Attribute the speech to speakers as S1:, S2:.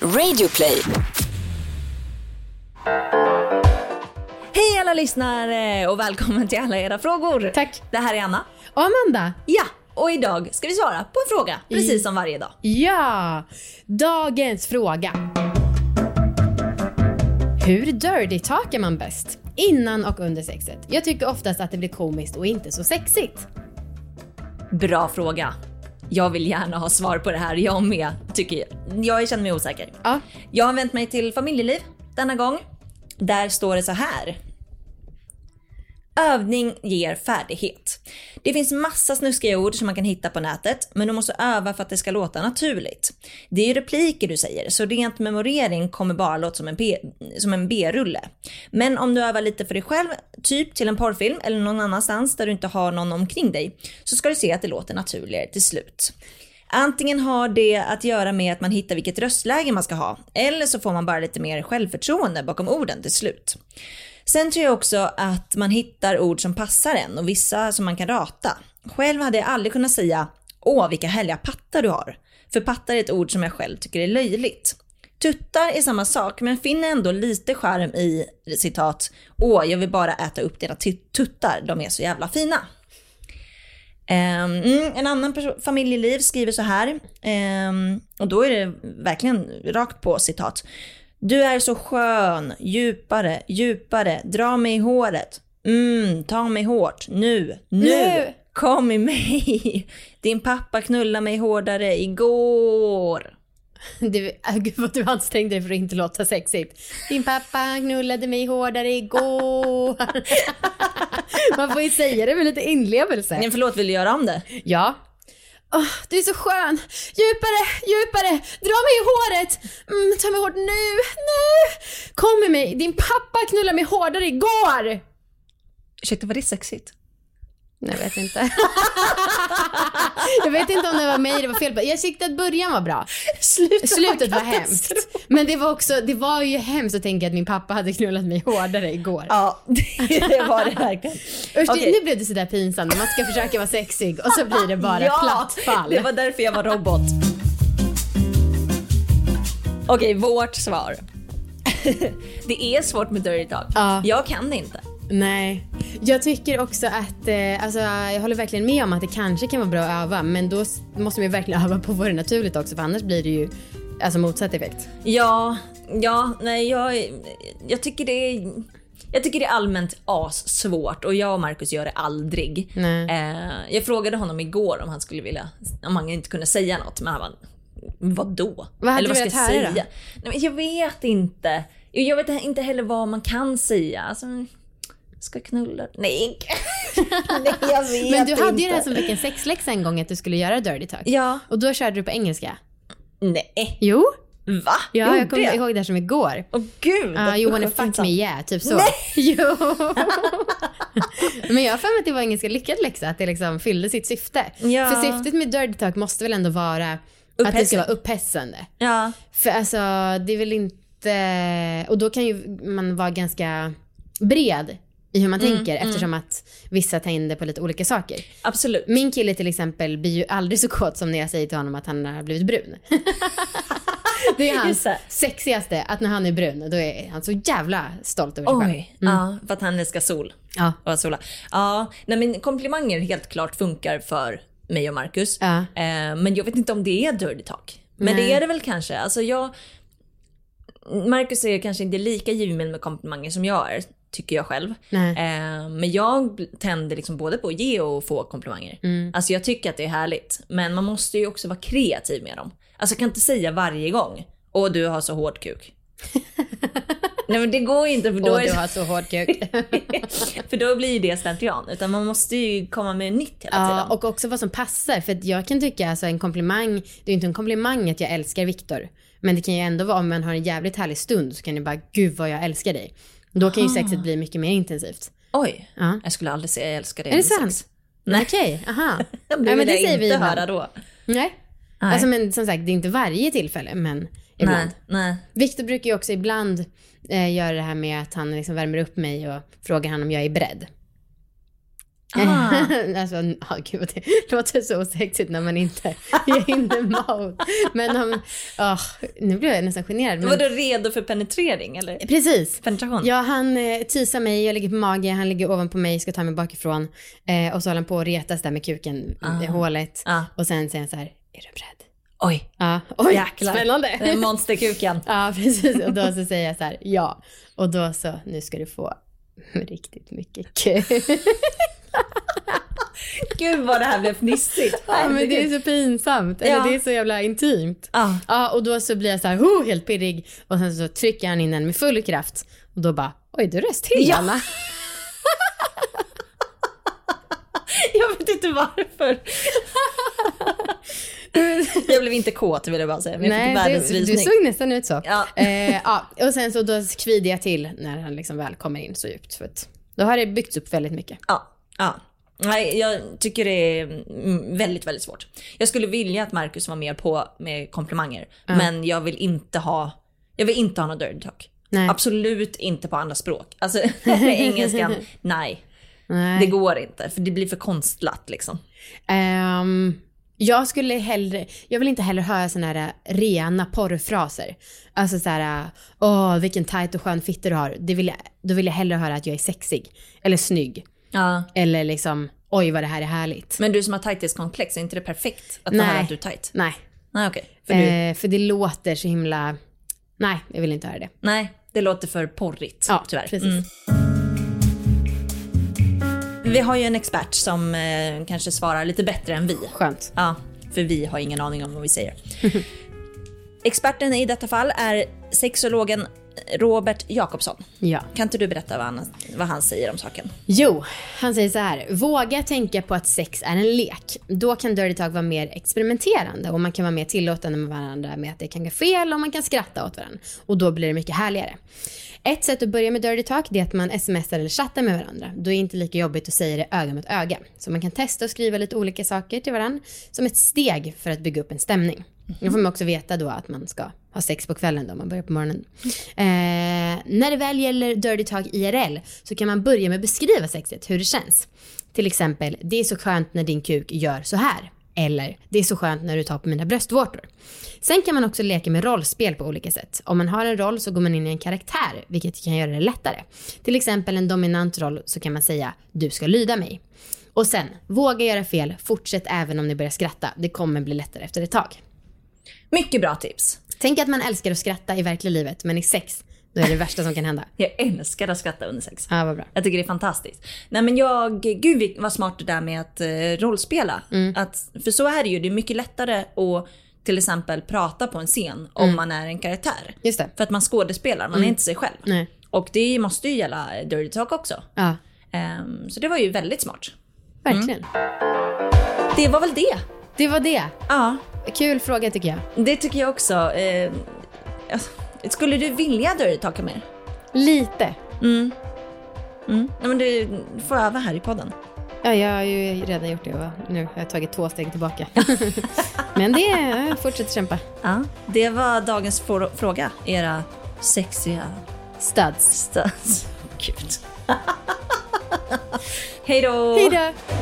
S1: Radioplay.
S2: Hej alla lyssnare och välkommen till alla era frågor.
S3: Tack.
S2: Det här är Anna.
S3: Och Amanda.
S2: Ja, och idag ska vi svara på en fråga, precis som varje dag.
S3: Ja! Dagens fråga. Hur dirty talkar man bäst? Innan och under sexet. Jag tycker oftast att det blir komiskt och inte så sexigt.
S2: Bra fråga. Jag vill gärna ha svar på det här, jag med, tycker jag. Jag känner mig osäker.
S3: Ja.
S2: Jag har vänt mig till familjeliv denna gång. Där står det så här. Övning ger färdighet. Det finns massa snuskiga ord som man kan hitta på nätet, men du måste öva för att det ska låta naturligt. Det är ju repliker du säger, så rent memorering kommer bara låta som en B- som en B-rulle. Men om du övar lite för dig själv, typ till en porrfilm eller någon annanstans där du inte har någon omkring dig, så ska du se att det låter naturligare till slut. Antingen har det att göra med att man hittar vilket röstläge man ska ha, eller så får man bara lite mer självförtroende bakom orden till slut. Sen tror jag också att man hittar ord som passar en och vissa som man kan rata. Själv hade jag aldrig kunnat säga “Åh, vilka härliga pattar du har”, för pattar är ett ord som jag själv tycker är löjligt. Tuttar är samma sak, men finner ändå lite charm i citat “Åh, jag vill bara äta upp dina tut- tuttar, de är så jävla fina”. Ehm, mm, en annan perso- familjeliv skriver så här, ehm, och då är det verkligen rakt på citat. Du är så skön, djupare, djupare, dra mig i håret. Mm, ta mig hårt, nu, nu,
S3: Nu.
S2: kom i mig. Din pappa knullade mig hårdare igår.
S3: Du, äh, gud vad du ansträngde dig för att inte låta sexigt. Din pappa knullade mig hårdare igår. man får ju säga det med lite inlevelse.
S2: Nej, förlåt, vill du göra om det?
S3: Ja. Åh, du är så skön! Djupare, djupare! Dra mig i håret! Mm, ta mig hårt nu, nu! Kom med mig! Din pappa knullade mig hårdare igår!
S2: Ursäkta, var det sexigt?
S3: Nej, jag vet inte. jag vet inte om det var mig det var fel på. Jag tyckte att början var bra.
S2: Slutet,
S3: Slutet var hemskt. Men det var också, det var ju hemskt att tänka att min pappa hade knullat mig hårdare igår.
S2: Ja, det var det verkligen.
S3: Usch,
S2: Okej.
S3: Nu blev det sådär pinsamt när man ska försöka vara sexig och så blir det bara platt fall.
S2: Det var därför jag var robot. Okej, vårt svar. det är svårt med Dirty Dog.
S3: Ja.
S2: Jag kan det inte.
S3: Nej. Jag tycker också att, eh, alltså, jag håller verkligen med om att det kanske kan vara bra att öva men då s- måste man ju verkligen öva på vad det är naturligt också för annars blir det ju alltså, motsatt effekt.
S2: Ja, ja, nej jag, jag tycker det är... Jag tycker det är allmänt assvårt och jag och Markus gör det aldrig.
S3: Nej.
S2: Eh, jag frågade honom igår om han skulle vilja, om han inte kunde säga något men han bara, vadå?
S3: Vad hade
S2: Eller
S3: du
S2: vad ska
S3: velat
S2: jag
S3: höra
S2: säga?
S3: då?
S2: Nej, men jag vet inte. Jag vet inte heller vad man kan säga. Alltså, ska jag knulla? Nej, nej jag vet
S3: Men du hade ju
S2: inte.
S3: det här som veckans sexläxa en gång att du skulle göra dirty talk.
S2: Ja.
S3: Och då körde du på engelska.
S2: Nej,
S3: Jo.
S2: va?
S3: Ja,
S2: Gjorde
S3: jag kommer
S2: jag?
S3: ihåg det här som igår.
S2: Åh gud.
S3: Uh, you
S2: usch,
S3: wanna
S2: vad
S3: fuck
S2: pinsamt.
S3: me yeah, typ så. Jo. Men jag har för mig att det var en ganska lyckad läxa, att det liksom fyllde sitt syfte.
S2: Ja.
S3: För syftet med dirty talk måste väl ändå vara att det ska
S2: Upphetsande.
S3: vara upphetsande.
S2: Ja.
S3: För alltså det är väl inte, och då kan ju man vara ganska bred i hur man
S2: Mm,
S3: tänker eftersom att vissa tänder på lite olika saker.
S2: Absolut.
S3: Min kille till exempel blir ju aldrig så kåt som när jag säger till honom att han har blivit brun. det är
S2: Just
S3: hans
S2: det.
S3: sexigaste, att när han är brun då är han så jävla stolt över sig själv. Mm.
S2: Oj. Ja, för att han älskar sol.
S3: Ja.
S2: Och sola. Ja, nej, men komplimanger helt klart funkar för mig och Marcus.
S3: Ja.
S2: Eh, men jag vet inte om det är dirty talk. Men
S3: Nej.
S2: det är det väl kanske. Alltså jag, Marcus är kanske inte lika givmild med komplimanger som jag är, tycker jag själv.
S3: Nej.
S2: Eh, men jag tänder liksom både på att ge och få komplimanger.
S3: Mm.
S2: Alltså jag tycker att det är härligt. Men man måste ju också vara kreativ med dem. Alltså jag kan inte säga varje gång, åh du har så hård kuk. Nej men det går ju inte för då
S3: Och
S2: är det
S3: du har så hård kuk.
S2: för då blir ju det slentrian. Utan man måste ju komma med nytt hela tiden.
S3: ja, och också vad som passar. För att jag kan tycka alltså en komplimang, det är ju inte en komplimang att jag älskar Viktor. Men det kan ju ändå vara om man har en jävligt härlig stund så kan det bara, gud vad jag älskar dig. Då kan ju sexet bli mycket mer intensivt.
S2: Oj,
S3: Ja.
S2: jag skulle aldrig säga jag älskar dig.
S3: Är det
S2: under
S3: sant?
S2: sex.
S3: Nej. Okej, aha.
S2: Det vill
S3: Nej, men det
S2: jag
S3: säger vi
S2: inte
S3: ibland.
S2: höra då.
S3: Nej.
S2: Nej.
S3: Alltså men som sagt, det är inte varje tillfälle, men ibland.
S2: Nej, nej.
S3: Viktor brukar ju också ibland eh, göra det här med att han liksom värmer upp mig och frågar han om jag är beredd.
S2: Ah.
S3: alltså, ja, gud vad det låter så osexigt när man inte är inne mode. Men om, ah, nu blir jag nästan generad.
S2: Var
S3: Men,
S2: du redo för penetrering eller?
S3: precis.
S2: Penetration?
S3: Ja, han eh, tisar mig, jag ligger på mage, han ligger ovanpå mig, ska ta mig bakifrån. Eh, och så håller han på och retas där med kuken
S2: Ah.
S3: i hålet.
S2: Ah.
S3: Och sen säger han så här, är du beredd?
S2: Oj,
S3: Ja, oj,
S2: Jäklar.
S3: spännande.
S2: den monsterkuken.
S3: Ja, precis. Och då så säger jag så här, ja. Och då så, nu ska du få riktigt mycket kul.
S2: Gud vad det här blev fnissigt.
S3: Ja, men det är så pinsamt. Eller
S2: Ja.
S3: det är så jävla intimt.
S2: Ja.
S3: Ja, och då så blir jag så här, ho, helt pirrig. Och sen så trycker han in den med full kraft. Och då bara, oj, du röst till,
S2: Ja.
S3: Anna.
S2: Jag vet inte varför. jag blev inte kåt vill jag bara säga, men jag fick
S3: Nej,
S2: världens
S3: du, du
S2: rysning.
S3: såg nästan ut så.
S2: Ja.
S3: Eh, ja, och sen så då kvider jag till när han liksom väl kommer in så djupt. För att då har det byggts upp väldigt mycket.
S2: Ja, ja. Nej, jag tycker det är mm, väldigt, väldigt svårt. Jag skulle vilja att Marcus var mer på med komplimanger, men jag vill inte ha, jag vill inte ha någon dirty talk.
S3: Nej.
S2: Absolut inte på andra språk. Alltså engelskan, nej.
S3: Nej.
S2: Det går inte, för det blir för konstlat liksom.
S3: Ehm, jag skulle hellre, jag vill inte heller höra såna här eh, rena porrfraser. Alltså så här, åh vilken tight och skön fitta du har. Det vill jag, då vill jag hellre höra att jag är sexig. Eller snygg.
S2: Ja.
S3: Eller liksom, oj vad det här är härligt.
S2: Men du som har tajthetskomplex, är inte det perfekt att få
S3: Nej. Eh.
S2: höra att du är tajt?
S3: Nej,
S2: Nej, okej. För
S3: för,
S2: du,
S3: för det låter så himla, nej jag vill inte höra det.
S2: nej, det låter för porrigt
S3: Ja,
S2: tyvärr.
S3: precis.
S2: Mm. Vi har ju en expert som eh, kanske svarar lite bättre än vi.
S3: Skönt.
S2: Ja, för vi har ingen aning om vad vi säger. Experten i detta fall är sexologen Robert Jakobsson.
S3: Ja.
S2: Kan inte du berätta vad han, vad han säger om saken?
S3: Jo, han säger så här. Våga tänka på att sex är en lek. Då kan Dirty Talk vara mer experimenterande och man kan vara mer tillåtande med varandra med att det kan gå fel och man kan skratta åt varandra. Och då blir det mycket härligare. Ett sätt att börja med Dirty Talk det är att man smsar eller chattar med varandra. Då är det inte lika jobbigt att säga det öga mot öga. Så man kan testa och skriva lite olika saker till varandra som ett steg för att bygga upp en stämning. Då får man också veta då att man ska ha sex på kvällen då, man börjar på morgonen. Eh, när det väl gäller Dirty Talk IRL så kan man börja med att beskriva sexet, hur det känns. Till exempel, det är så skönt när din kuk gör så här. Eller, det är så skönt när du tar på mina bröstvårtor. Sen kan man också leka med rollspel på olika sätt. Om man har en roll så går man in i en karaktär, vilket kan göra det lättare. Till exempel en dominant roll så kan man säga, du ska lyda mig. Och sen, våga göra fel, fortsätt även om ni börjar skratta. Det kommer bli lättare efter ett tag.
S2: Mycket bra tips.
S3: Tänk att man älskar att skratta i verkliga livet, men i sex, då är det det värsta som kan hända.
S2: Jag älskar att skratta under sex.
S3: Ja, vad bra.
S2: Jag tycker det är fantastiskt. Nej men jag, gud vil- vad smart det där med att eh, rollspela. Att, för så är det ju, det är mycket lättare att till exempel prata på en scen om man är en karaktär.
S3: Just det.
S2: För att man skådespelar, man är inte sig själv.
S3: Nej.
S2: Och det måste ju gälla Dirty Talk också.
S3: Ja,
S2: Ehm, så det var ju väldigt smart.
S3: verkligen.
S2: Det var väl det.
S3: Det var det.
S2: Ja,
S3: Kul fråga tycker jag.
S2: det tycker jag också. Ehm, alltså, skulle du vilja Dirty Talka mer?
S3: Lite.
S2: Mm. Nej, men du får öva här i podden.
S3: Ja, jag har ju redan gjort det och nu har jag tagit två steg tillbaka. men det, jag fortsätter kämpa.
S2: Ja, det var dagens for- fråga. Era sexiga
S3: Studs.
S2: stöds. Gud. Hej då!
S3: Hej då!